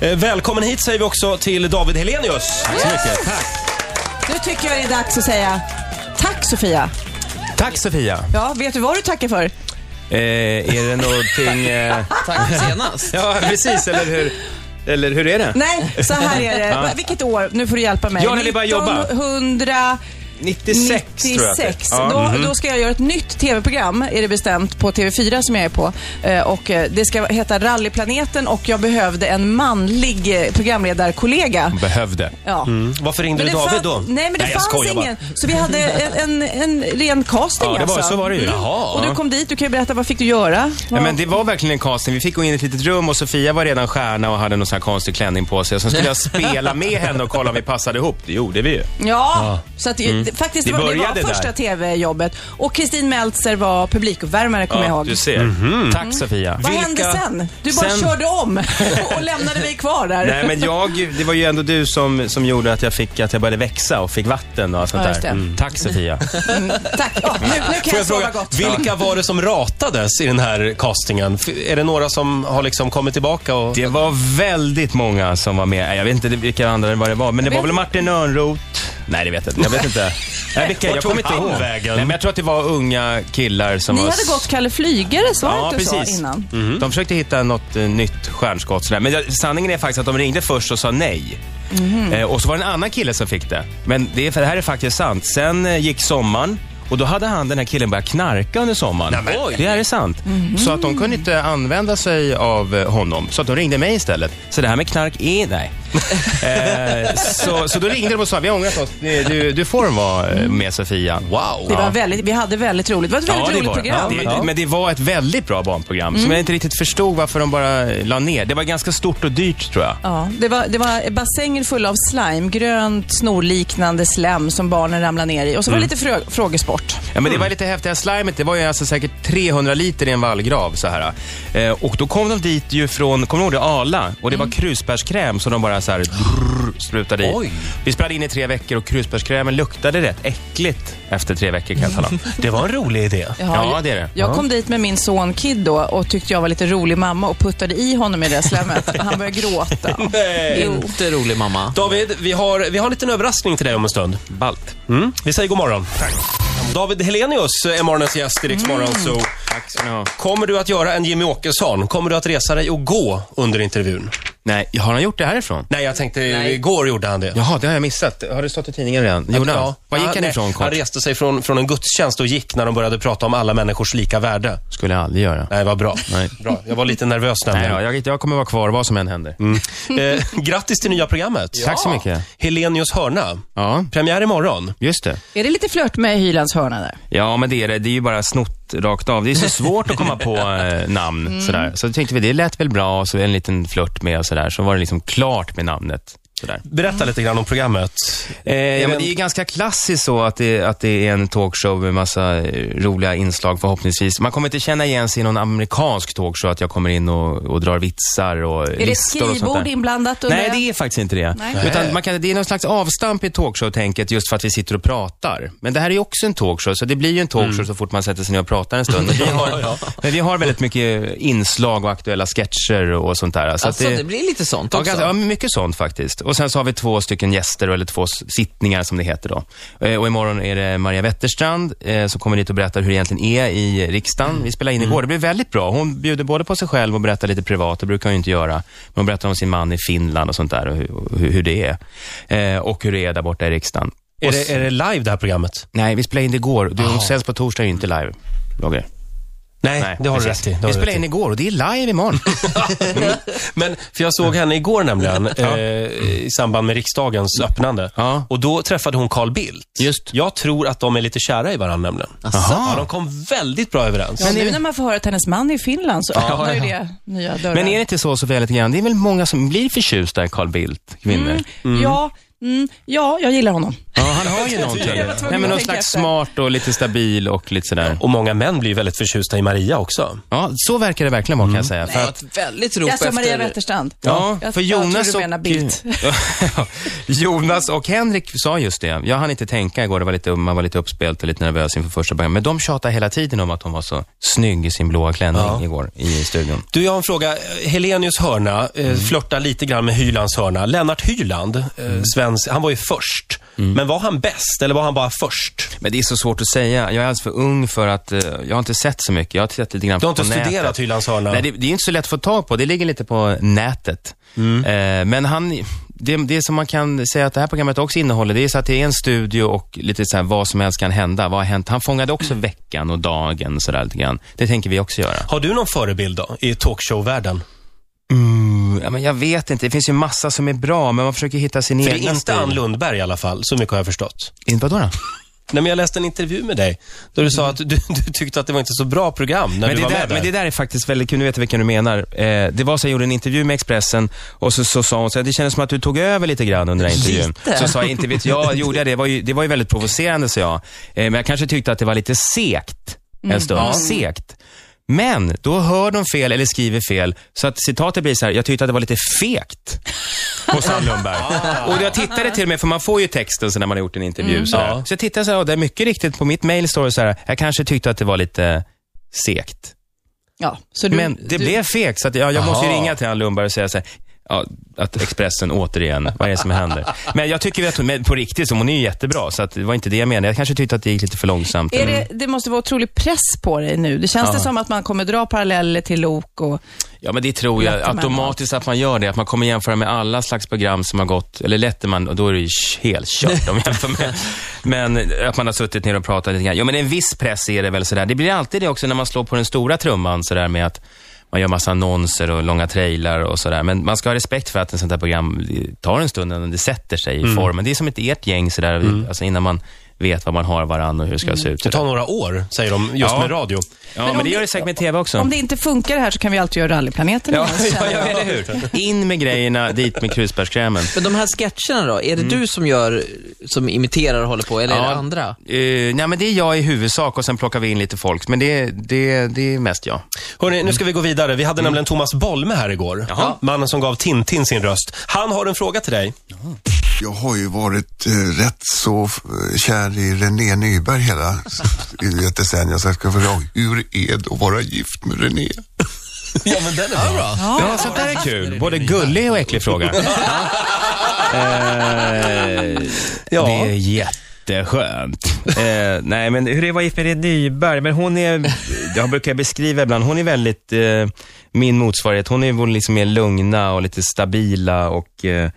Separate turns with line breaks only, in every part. Eh, Välkommen hit säger vi också till David Helenius. Tack så mycket.
Nu tycker jag det är dags att säga tack Sofia.
Tack Sofia.
Ja, vet du vad du tackar för?
Eh, är det någonting... Eh...
Tack senast.
Ja, precis. Eller hur, eller hur är det?
Nej, så här är det. Va- Vilket år? Nu får du hjälpa mig.
Jag vill bara jobba.
1900...
96, tror jag. att det är.
96.
Ja. Mhm.
Då, då ska jag göra ett nytt tv-program, är det bestämt, på TV4 som jag är på. Eh, och eh, det ska heta Rallyplaneten och jag behövde en manlig eh, programledarkollega.
Mm. Behövde.
Ja.
Mm.
Varför ringde
Men
du
det
David
fann-
då?
Nej, men det
Nej, jag
fanns
skojar bara.
ingen. Så vi hade en, en, en ren casting
Ja, det var-
alltså.
så var det ju. Jaha.
Och du kom dit, du kan ju berätta vad fick du göra?
Ja, men det var verkligen en casting. Vi fick gå in i ett litet rum och Sofia var redan stjärna och hade någon sån här konstig klänning på sig. Och Sen skulle jag spela med henne och kolla om vi passade ihop. Det gjorde vi ju.
Ja, så att det, det- faktiskt det
Vi
var, det var
Mm. började där.
första TV-jobbet. Och Kristin Meltzer var publikuppvärmare, kommer jag ihåg.
du ser. Tack Sofia.
Vad hände sen? Du bara körde om och lämnade mig kvar där.
Nej men jag, det var ju ändå du som, som gjorde att jag, fick, att jag började växa och fick vatten och allt sånt
Ja,
där.
just det.
Mm. Tack Sofia.
Mm, tack. Ja, nu, nu kan
Får
jag
jag
sova
fråga,
gott.
vilka var det som ratades i den här castingen? F- Är det några som har liksom kommit tillbaka och...
Det var väldigt många som var med. Nej, Jag vet inte vilka andra det var det var, men det var väl Martin Örnroth. Nej, det vet jag inte. Jag vet inte. Nej, vilka, jag
Vart
kommer
tog
inte
han
ihåg.
vägen?
Nej, men jag tror att det var unga killar som
Ni
var...
hade gått Kalle Flygare, så var det
Ja,
inte så
precis. Mm.
innan?
De försökte hitta något eh, nytt stjärnskott. Sådär. Men jag- sanningen är faktiskt att de ringde först och sa nej.
Mhm.
Eh, och så var det en annan kille som fick det. Men det, är, för det här är faktiskt sant. Sen eh, gick sommaren och då hade han, den här killen, börjat knarka under sommaren. Oj. Det här är sant.
Mhm.
Så att de kunde inte använda sig av eh, honom. Så att de ringde mig istället. Så det här med knark är... Nej. eh, så, så då ringde de och sa, vi har ångrat oss. Du, du- du får vara eh, med Sofia. Wow.
Det var väldigt, vi hade väldigt roligt. Det var ett väldigt roligt
var det.
program. Mm.
Ja, det, det- Men det var ett väldigt bra barnprogram som jag inte riktigt förstod varför de bara la ner. Det var ganska stort och dyrt tror jag.
Ja, det, var, det var bassänger fulla av slime, grönt snorliknande slem som barnen ramlade ner i. Och så var det
Mm.
lite frö, frågesport.
Ja, men det var lite häftiga slimet. Det var ju alltså säkert 300 liter i en vallgrav så här. Eh, och då kom de dit ju från, kommer du ihåg det, Arla? Och det
Mm.
var krusbärskräm som de bara
Ah.
så här drrrr, sprutade i.
Oj.
Vi spelade in i tre veckor och krusbärskrämen luktade rätt äckligt efter tre veckor kan jag tala om.
Det var en rolig idé.
Jaha,
Ja,
jag-
det är det.
Jag
Ja.
kom dit med min son Kid då och tyckte jag var lite rolig mamma och puttade i honom i det slemmet. Han började gråta. Jo.
Inte rolig mamma.
David, vi har, vi har en liten överraskning till dig om en stund.
Ballt.
Mm. Vi säger god morgon. David Helenius är morgonens gäst i Rix
Mm.
Morgonzoo.
Tack ska ni ha.
Kommer du att göra en Jimmy Åkesson? Kommer du att resa dig och gå under intervjun?
Nej, har han gjort det härifrån?
Nej, jag tänkte
Nej.
igår gjorde han det.
Jaha, det har jag missat. Har det stått i tidningen redan? Gjorde han? Var gick han
nej,
ifrån
Han
kort?
reste sig från, från en gudstjänst och gick när de började prata om alla människors lika värde.
Skulle jag aldrig göra.
Nej, vad bra.
Nej.
bra. Jag var lite nervös
Nej, Mm.
nämligen.
då, jag, jag kommer vara kvar vad som än händer.
Eh, grattis till nya programmet.
Tack så mycket.
Helenius hörna.
Ja,
Premiär imorgon.
just det.
Är det lite flört med Hylands hörna där?
Ja, men det är det. Det är ju bara snott rakt av. Det är så svårt att komma på eh, namn. Sådär. Så tänkte vi, det lät väl bra och så en liten flört med och sådär. Så var det liksom klart med namnet. Sådär.
Berätta lite grann om programmet.
Eh, ja, men
men-
det är ju ganska klassiskt så att det, att det är en talkshow med massa eh, roliga inslag förhoppningsvis. Man kommer inte känna igen sig i någon amerikansk talkshow, att jag kommer in och, och drar vitsar och
Är det
listor och sånt
skrivbord
där.
inblandat? undrar
Nej,
jag?
det är faktiskt inte det.
Nej.
Utan man kan, det är någon slags avstamp i talkshow-tänket just för att vi sitter och pratar. Men det här är ju också en talkshow, så det blir ju en talkshow så fort man sätter sig ner och pratar en stund. Men vi har, men vi har väldigt mycket inslag och aktuella sketcher och sånt där. Så
Alltså,
att
det...
det-
blir lite sånt
Ja,
också.
ganska, ja, mycket sånt faktiskt. Och sen så har vi två stycken gäster, eller två s- sittningar som det heter då. Eh, Och imorgon är det Maria Wetterstrand eh, som kommer dit och berättar hur det egentligen är i riksdagen. Vi spelade
Mm.
in igår, det blev väldigt bra. Hon bjuder både på sig själv och berättar lite privat, det brukar hon ju inte göra. Men hon berättar om sin man i Finland och sånt där och hur, och hur, hur det är. Eh, Och hur det är där borta i riksdagen.
Är det, är det live det här programmet?
Nej, vi spelade in det igår. Du sänds på torsdag, är ju inte live. Roger.
Nej, det har du rätt
precis.
i. Det har
Vi
du
spelade
rätt
in
i. Mm.
igår och det är live imorgon.
Men, för jag såg henne igår nämligen, eh, i samband med riksdagens öppnande.
Ja.
Och då träffade hon Carl Bildt.
Just.
Jag tror att de är lite kära i varandra nämligen. Ja, de kom väldigt bra överens.
Ja, nu när man får höra att hennes man är i Finland så öppnar ju det nya dörrar.
Men är det inte så Sofia, lite grann? Det är väl många som blir förtjusta i Carl Bildt, kvinnor?
Ja, Mm, ja, jag gillar honom.
Ja, han har ju någonting.
Jag var tvungen
Nej, men
att
någon
tänka
slags
efter.
smart och lite stabil och lite sådär.
Och många män blir väldigt förtjusta i Maria också.
Ja, så verkar det verkligen vara kan jag säga. För
Det var
att,
ett väldigt rop
Jag sa
efter...
Maria Wetterstrand.
ja,
jag,
för
jag
Jonas
tror du menar Bildt.
Ja, Jonas och Henrik sa just det. Jag hann inte tänka igår, det var lite, man var lite uppspelt och lite nervös inför första början. Men de tjatade hela tiden om att hon var så snygg i sin blåa klänning
Ja.
igår i studion.
Du, jag har en fråga. Helenius hörna eh,
Mm.
flörtar lite grann med Hylands hörna. Lennart Hyland, eh,
Mm.
svensk, han var ju först. Men var han bäst eller var han bara först?
Men det är så svårt att säga. Jag är alldeles för ung för att, eh, jag har inte sett så mycket. Jag har tittat lite grann
Du har inte
på nätet.
studerat Hylands hörna?
Nej, det, det är inte så lätt att få tag på. Det ligger lite på nätet. Eh, men han, det, det som man kan säga att det här programmet också innehåller, det är så att det är en studio och lite så här vad som helst kan hända. Vad har hänt? Han fångade också veckan och dagen sådär lite grann. Det tänker vi också göra.
Har du någon förebild då, i talkshow-världen?
Mm, Ja, men jag vet inte. Det finns ju massa som är bra, men man försöker hitta sin
För
egen
det är inte
stil.
Ann Lundberg i alla fall, så mycket har jag förstått.
Inte vadå då?
Nej, men jag läste en intervju med dig, där du sa att du, du tyckte att det var inte så bra program när
Mm. men
du
det,
var
där,
med där.
men det där är faktiskt väldigt kul, nu vet jag vilken du menar. Eh, det var så jag gjorde en intervju med Expressen och så, så sa hon så här, det kändes som att du tog över lite grann under den här intervjun.
Lite.
Så sa jag, inte vet jag, gjorde jag det? Det var ju, det var ju väldigt provocerande sa jag. Eh, men jag kanske tyckte att det var lite segt en stund. Segt. Men då hör de fel eller skriver fel, så att citatet blir så här, jag tyckte att det var lite fegt hos Ann Lundberg. Och jag tittade till och med, för man får ju texten sen när man har gjort en intervju. Så,
Ja.
så jag tittade så här, och det är mycket riktigt på mitt mail står det så här, jag kanske tyckte att det var lite segt.
Ja, så du,
Men det
du,
blev fegt, så att jag, jag måste ju
Aha.
ringa till Ann Lundberg och säga så här, ja, att Expressen återigen, vad är det som händer? Men jag tycker att hon, men på riktigt, så hon är ju jättebra, så att det var inte det jag menade. Jag kanske tyckte att det gick lite för långsamt.
Är det, det måste vara otrolig press på dig nu. Det känns det som att man kommer dra paralleller till Lok och...
Ja, men det tror jag
Letterman.
automatiskt att man gör det, att man kommer jämföra med alla slags program som har gått, eller Letterman, och då är det ju helt kört om jämför med. Men att man har suttit ner och pratat lite grann. Ja, men en viss press är det väl sådär. Det blir alltid det också när man slår på den stora trumman sådär med att man gör massa annonser och långa trailrar och sådär. Men man ska ha respekt för att en sånt här program tar en stund innan det sätter sig
Mm.
i formen. Det är som ett ert gäng sådär, alltså innan man vet vad man har varann och hur det ska se ut.
Det
sådär.
tar några år, säger de, just
Ja.
med radio.
Ja,
Mm. Men
men,
om
det gör
det-
det säkert med TV också.
Om det inte funkar det här så kan vi alltid göra Rallyplaneten
Ja,
igen,
ja,
känner
ja,
jag.
eller hur? In med grejerna, dit med krusbärskrämen.
Men de här sketcherna då, är det du som gör, som imiterar och håller på, eller är det andra?
Eh, nej, men det är jag i huvudsak och sen plockar vi in lite folk. Men det, det, det är mest jag.
Hörrni, nu ska vi gå vidare. Vi hade nämligen Thomas Bolme här igår.
Jaha.
Mannen som gav Tintin sin röst. Han har en fråga till dig.
Jag har ju varit eh, rätt så eh, kär i René Nyberg hela i ett decennium. Så jag ska fråga, hur är det att vara gift med René?
Ja, men den är bra.
Ja, sånt där är kul. Både gullig och äcklig fråga. Eh,
Ja.
Det är jätteskönt. Eh, nej, men hur det var gift med Irene Nyberg, men hon är, jag brukar beskriva ibland, hon är väldigt, eh, min motsvarighet, hon är väl liksom mer lugna och lite stabila och eh,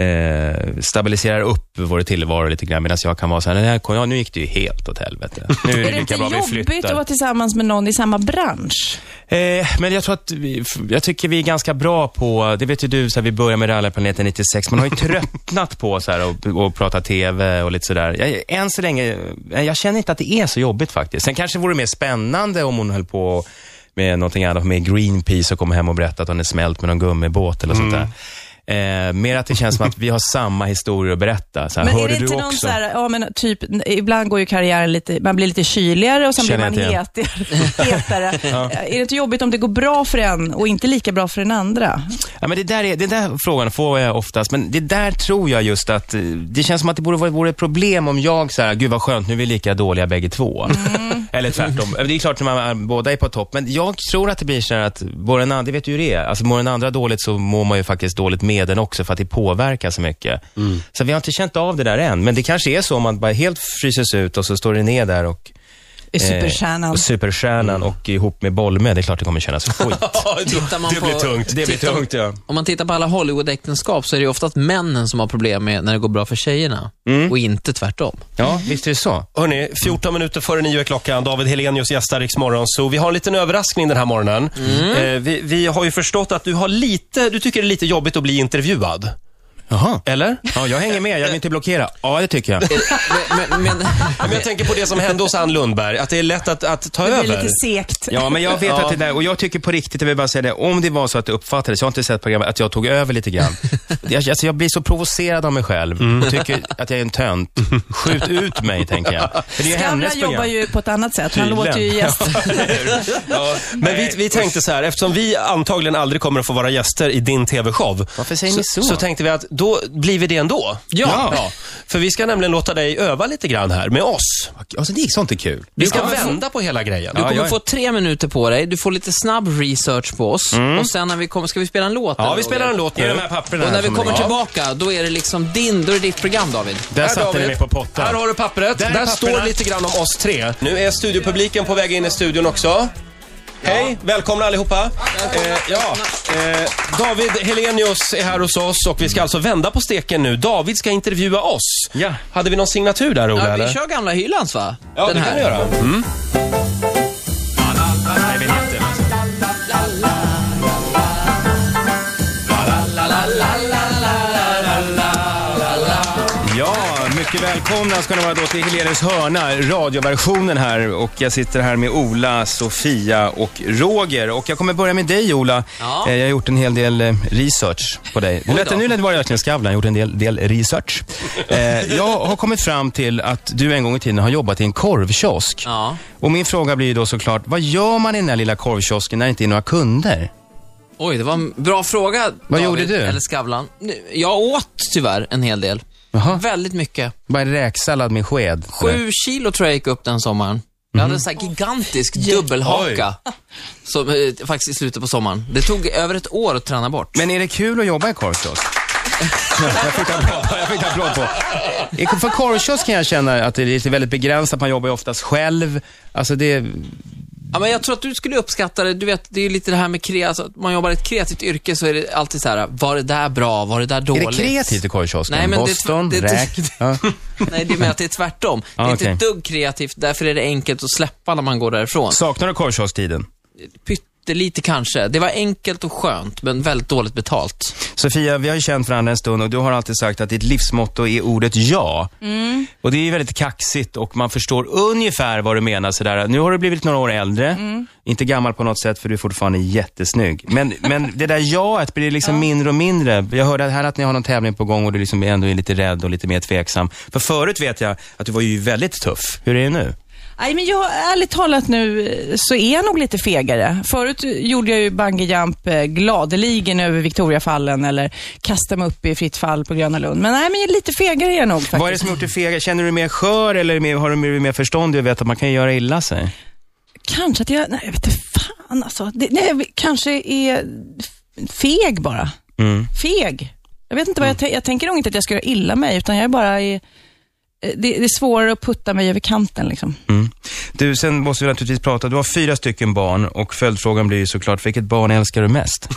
Eh, stabiliserar upp vår tillvaro lite grann medan jag kan vara så här, "Den här, ja, nu gick det ju helt åt helvete. Nu är det,
Är det
lika
inte
bra vi
jobbigt
flyttar.
att vara tillsammans med någon i samma bransch?
Eh, men jag tror att vi, f- jag tycker vi är ganska bra på, det vet ju du, så här, vi började med Rallarplaneten 96, man har ju tröttnat på så här, och, och prata TV och lite sådär. Jag- Än så länge, eh, jag känner inte att det är så jobbigt faktiskt. Sen kanske det vore mer spännande om hon höll på med någonting annat, med Greenpeace och kom hem och berättade att hon är smält med någon gummibåt eller
Mm.
sånt där. Eh, mer att det känns som att vi har samma historier att berätta. Så här,
Men är
hörde
det inte
du
någon
också?
så här, ja men typ, n- ibland går ju karriären lite, man blir lite kyligare och sen
Känner
blir man
jag
hetigare. hetare. Är det inte jobbigt om det går bra för en och inte lika bra för den andra?
Ja, men det där är, den där frågan får jag oftast, men det där tror jag just att, eh, det känns som att det borde vara vore ett problem om jag så här, gud vad skönt, nu är vi lika dåliga bägge två. Eller tvärtom. Det är klart när man är, båda är på topp, men jag tror att det blir så här att, mår den andra, det vet ju hur det är, alltså mår den andra dåligt så mår man ju faktiskt dåligt med den också för att det påverkar så mycket. Så vi har inte känt av det där än, men det kanske är så om man bara helt fryses ut och så står det ner där och
Är
eh,
superstjärnan.
och superstjärnan och ihop med Bolme, det är klart det kommer kännas skit.
Tittar man
det blir
på-
tungt.
Det blir
Tittar-
tungt ja.
Om man tittar på alla Hollywood-äktenskap så är det ju oftast männen som har problem med när det går bra för tjejerna och inte tvärtom.
Ja, visst är det så.
Hörni, 14 minuter före nio är klockan. David Helenius gästar Rix Morgon, så vi har en liten överraskning den här morgonen. Eh, vi, vi har ju förstått att du har lite, du tycker det är lite jobbigt att bli intervjuad.
Jaha.
Eller?
Ja, jag hänger med. Jag vill inte blockera. Ja, det tycker jag.
Men, men, men,
Ja, men jag tänker på det som hände hos Ann Lundberg, att det är lätt att, att ta
Det
över.
blir lite segt.
Ja, men jag vet att det där, och jag tycker på riktigt, jag vill bara säga det, om det var så att det uppfattades, jag har inte sett programmet, att jag tog över lite grann. Jag, alltså, jag blir så provocerad av mig själv och tycker att jag är en tönt. Skjut ut mig, tänker jag. För det är ju
Skavlan
hennes
jobbar
program.
ju på ett annat sätt. Han
Tydligen.
låter ju gäster.
Ja,
Men vi,
nej.
vi tänkte så här, eftersom vi antagligen aldrig kommer att få vara gäster i din TV-show.
Varför säger ni så?
Så tänkte vi att då blir vi det ändå.
Ja.
För vi ska nämligen låta dig öva lite grann här med oss.
Alltså, det är sånt är kul.
Vi ska
Ja, men-
vända på hela grejen.
Du kommer
jag är-
få tre minuter på dig, du får lite snabb research på oss och sen när vi kommer, ska vi spela en låt?
Ja,
eller,
vi spelar en
Roger?
låt
Ge
nu.
de här papperna
Och
här
när vi
som
kommer
är-
tillbaka, då är det liksom din, då är det ditt program David.
Där
Här,
satte ni
David.
mig på potten.
Här har du pappret.
Där
Där,
är papperna.
står lite grann om oss tre. Nu är studiopubliken på väg in i studion också. Hej, välkomna allihopa. Eh, ja, eh, David Helenius är här hos oss och vi ska alltså vända på steken nu. David ska intervjua oss.
Ja.
Hade vi någon signatur där, Ola?
Ja,
eller?
vi kör gamla Hylands va?
Ja, det kan vi göra.
Nej, vignetten alltså. Ja, mycket välkomna ska ni vara då till Helenius hörna, radioversionen här. Och jag sitter här med Ola, Sofia och Roger. Och jag kommer börja med dig Ola.
Ja.
Eh, Jag har gjort en hel del eh, research på dig. Nu
Oj
lät
då.
det nu lät det bara verkligen Skavlan, jag har gjort en del, del research. Eh, Jag har kommit fram till att du en gång i tiden har jobbat i en korvkiosk.
Ja.
Och min fråga blir ju då såklart, vad gör man i den här lilla korvkiosken när det inte är några kunder?
Oj, det var en bra fråga
Vad
David,
gjorde du?
Eller Skavlan. Nu- Jag åt tyvärr en hel del.
Jaha.
Väldigt mycket.
Bara en räksallad med sked?
Sju kilo tror jag gick upp den sommaren. Jag hade en sån här
Mm.
gigantisk dubbelhaka. Som, eh, faktiskt i slutet på sommaren. Det tog över ett år att träna bort.
Men är det kul att jobba i korvkiosk? jag fick applåd, jag fick applåd på. I- För korvkiosk kan jag känna att det är lite väldigt begränsat, man jobbar ju oftast själv. Alltså det,
Ja, men jag tror att du skulle uppskatta det. Du vet, det är ju lite det här med kreativt. Alltså, att man jobbar i ett kreativt yrke så är det alltid så här, var det där bra, var det där
är
dåligt?
det kreativt i korvkiosken?
Nej, men det-
Boston,
det-
räk. Ja.
Nej, det menar att det är tvärtom. Det är
Ah,
inte
okej.
ett dugg kreativt, därför är det enkelt att släppa när man går därifrån.
Saknar du korvkiosktiden?
Pyttelite kanske. Det var enkelt och skönt, men väldigt dåligt betalt.
Sofia, vi har ju känt varandra en stund och du har alltid sagt att ditt livsmotto är ordet ja. Och det är ju väldigt kaxigt och man förstår ungefär vad du menar. Sådär. Nu har du blivit några år äldre, inte gammal på något sätt för du är fortfarande jättesnygg. Men, men det där jaet blir liksom mindre och mindre. Jag hörde här att ni har någon tävling på gång och du liksom ändå är lite rädd och lite mer tveksam. För förut vet jag att du var ju väldigt tuff. Hur är det nu?
Nej, men jag, ärligt talat nu eh, så är jag nog lite fegare. Förut gjorde jag ju bungee jump eh, gladeligen över Victoriafallen eller kasta mig upp i fritt fall på Gröna Lund. Men nej, men jag är lite fegare är jag nog
Vad är det
faktiskt.
som har gjort dig feg? Känner du dig mer skör eller mer, har du blivit mer förståndig och vet att man kan göra illa sig?
Kanske att jag, nej jag vet inte fan alltså. Det, nej, jag kanske är f- feg bara.
Mm.
Feg. Jag vet inte vad jag, tän- jag tänker nog inte att jag ska göra illa mig, utan jag är bara i, eh, det, det är svårare att putta mig över kanten liksom.
Mm. Du, sen måste vi naturligtvis prata. Du har fyra stycken barn och följdfrågan blir ju såklart, vilket barn älskar du mest?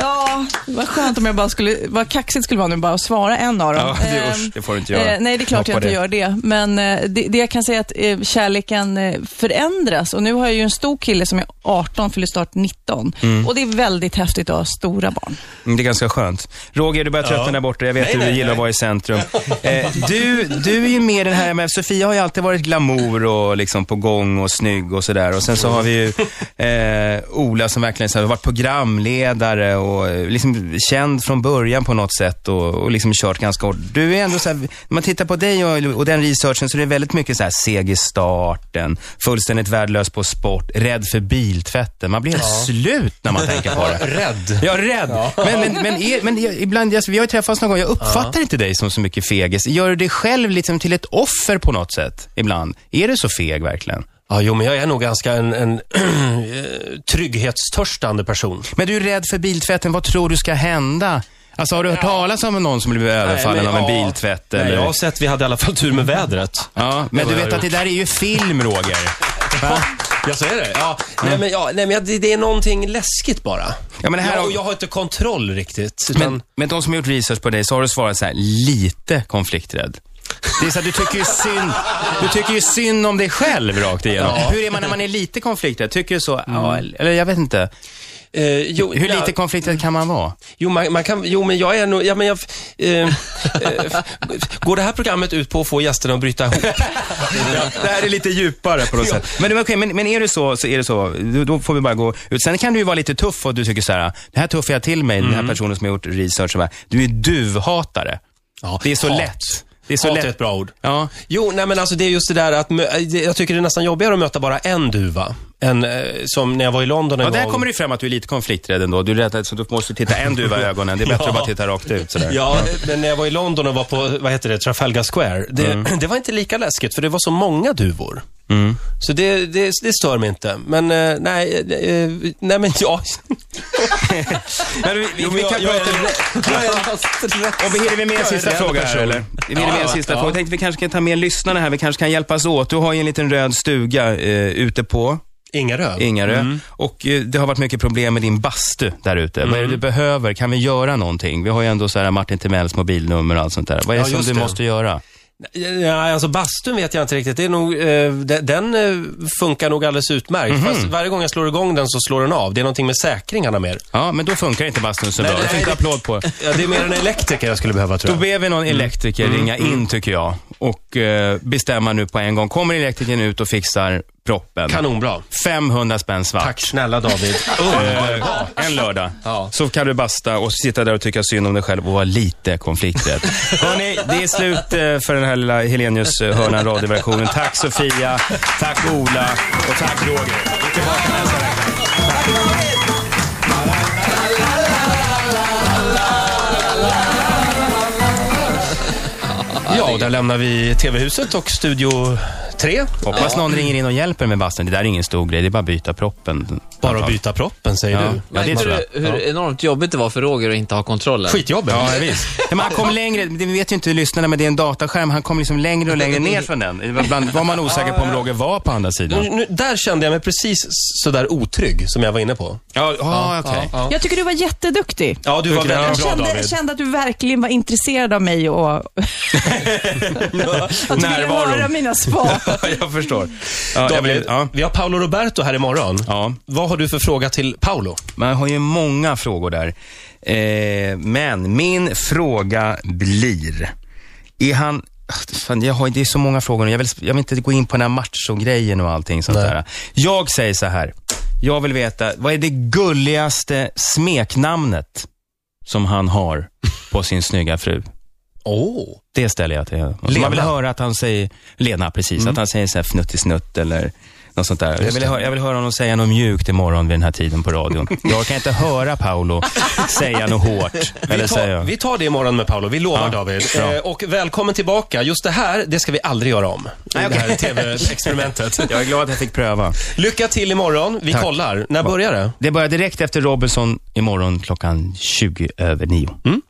Ja, vad skönt om jag bara skulle, vad kaxigt skulle vara nu bara att svara en av dem.
Ja, det- usch,
Ehm,
det får du inte göra.
eh, nej, det är klart jag
Hoppa
inte
det.
gör det. Men eh, det, det jag kan säga är att eh, kärleken eh, förändras och nu har jag ju en stor kille som är 18, fyller snart 19. Och det är väldigt häftigt att ha stora barn.
Mm, Det är ganska skönt. Roger, du börjar tröttna där borta. Jag vet att du gillar att vara i centrum. Eh, du, du är ju med i den här, men Sofia har ju alltid varit glamour och liksom på gång och snygg och sådär. Och sen så har vi ju eh, Ola som verkligen så här, har varit programledare och eh, liksom känd från början på något sätt och, och liksom kört ganska hårt. Du är ändå så här, när man tittar på dig och, och den researchen så är det väldigt mycket så här seg i starten, fullständigt värdelös på sport, rädd för biltvätten. Man blir helt slut när man tänker på det.
Rädd.
Jag är rädd. Men, men, men, er, men jag- ibland, alltså, vi har ju träffats någon gång, jag uppfattar inte dig som så mycket fegis. Gör du dig själv liksom till ett offer på något sätt ibland? Är du så feg verkligen?
Ja, jo, men jag är nog ganska en, en eh, trygghetstörstande person.
Men du är rädd för biltvätten, vad tror du ska hända? Alltså har du hört talas om någon som blev överfallen
Nej,
av
men,
en
ja.
biltvätt?
Nej,
eller?
jag har sett, vi hade i alla fall tur med vädret.
Ja, men
Det
du
har
vet
jag
att det där är ju film, Roger. Va?
Jag säger det? Ja, nej, men, ja, nej, men jag- det, det är någonting läskigt bara.
Ja, men det här
jag,
har-
och jag har inte kontroll riktigt. Utan,
Men, men de som har gjort research på dig, så har du svarat så här, lite konflikträdd. Det är så att du tycker ju synd, du tycker ju synd om dig själv rakt igenom. Hur är man när man är lite konflikträdd? Tycker du så? Ja, eller jag vet inte.
Eh, jo,
Hur
ja.
lite konflikträdd kan man vara?
Jo, man, man kan, jo, men jag är nog... Ja, men jag, eh, eh, f- går det här programmet ut på att få gästerna att bryta ihop?
Det här är lite djupare på något sätt. Men, men, okej, men, men är det så, så är det så. Då, då får vi bara gå ut. Sen kan du ju vara lite tuff och du tycker så här, det här tuffar jag till mig, den här personen som har gjort research. Och bara, du är duvhatare.
Ja,
Det är så
hat.
lätt. Det är så
Hat
lätt.
är ett bra ord.
Ja.
Jo, nej men alltså det är just det där att mö- det- jag tycker det är nästan jobbigare att möta bara en duva. Än, eh, som när jag var i London en
Ja, där
gång.
kommer det ju fram att du är lite konflikträdd ändå. Du är rädd att så du måste titta en duva i ögonen. Det är bättre
Ja.
att bara titta rakt ut sådär.
Ja, men när jag var i London och var på, vad heter det, Trafalgar Square. Det, det var inte lika läskigt för det var så många duvor. Så det, det, det stör mig inte. Men eh, nej, eh, nej men jag...
Men vi, vi,
Jo, men
vi
jag-
kan
jag är
prata
rädd. Jag är
Och vi hinner vi med en sista
rädd
fråga här,
person.
eller? Vi hinner med en
Ja,
sista
ja.
fråga. Jag tänkte vi kanske kan ta med lyssnarna här. Vi kanske kan hjälpas åt. Du har ju en liten röd stuga eh, ute på
Inga röv.
Ingarö. Och eh, det har varit mycket problem med din bastu där ute. Vad är det du behöver? Kan vi göra någonting? Vi har ju ändå så här Martin Timells mobilnummer och allt sånt där. Vad är
Ja,
det som
just
du
det.
måste göra?
Ja, alltså bastun vet jag inte riktigt. Det är nog, eh, de- den eh, funkar nog alldeles utmärkt. Fast varje gång jag slår igång den så slår den av. Det är någonting med säkringarna mer.
Ja, men då funkar inte bastun så bra.
nej,
Det
nej.
fick en applåd på.
Ja, det är mer en elektriker jag skulle behöva tror
Då
jag.
ber vi någon elektriker
Mm.
ringa in tycker jag och eh, bestämma nu på en gång. Kommer elektrikern ut och fixar proppen?
Kanonbra.
500 spänn svart.
Tack snälla David.
Eh, en lördag. Så kan du basta och sitta där och tycka synd om dig själv och vara lite konflikträdd. Hörrni, det är slut eh, för den här lilla Helenius eh, hörnan radioversionen. Tack Sofia, tack Ola och tack Roger. Vi är tillbaka nästa vecka.
Ja, där lämnar vi TV-huset och Studio 3.
Hoppas någon ringer in och hjälper med bastun. Det där är ingen stor grej, det är bara att byta proppen.
Bara att byta proppen, säger
Ja.
du.
Ja, det
Märkte
tror jag.
du hur enormt jobbigt det var för Roger att inte ha kontrollen?
Skitjobbigt.
Ja, visst. Men han kom längre, det vet ju inte lyssnarna, men det är en dataskärm. Han kom liksom längre och längre ner från den. Det var Ibland var man osäker på om Roger var på andra
Nu,
sidan.
nu, där kände jag mig precis sådär otrygg som jag var inne på.
Ja, ja okej.
Jag tycker du var jätteduktig.
Ja, du var
Tycker jag.
väldigt
Jag
bra
kände,
David.
kände att du verkligen var intresserad av mig och att du ville
Närvaron.
höra mina svar.
jag förstår. Ja, jag
David,
vill, ja.
vi har Paolo Roberto här imorgon.
Ja.
Vad har du för fråga till Paolo?
Man har ju många frågor där. Eh, men min fråga blir, är han... Fan, jag har, det är så många frågor nu. jag vill, jag vill inte gå in på den här machogrejen och allting sånt
Nej.
där. Jag säger så här, jag vill veta, vad är det gulligaste smeknamnet som han har på sin snygga fru?
Åh.
Det ställer jag till honom.
Lena. Mm.
Man vill höra att han säger, Lena precis, att han säger så här fnuttisnutt eller något sånt där. Jag vill, höra, jag vill höra honom säga något mjukt imorgon vid den här tiden på radion. jag kan inte höra Paolo säga något hårt. Eller
Vi
säga,
tar, vi tar det imorgon med Paolo, vi lovar
Ja,
David.
bra.
Eh, och välkommen tillbaka. Just det här, det ska vi aldrig göra om.
Nej,
Det här
okej.
TV-experimentet.
Jag är glad att jag fick pröva.
Lycka till imorgon. Vi
Tack.
kollar. När börjar det?
Det börjar direkt efter Robinson imorgon klockan 20 över 9.
Mm.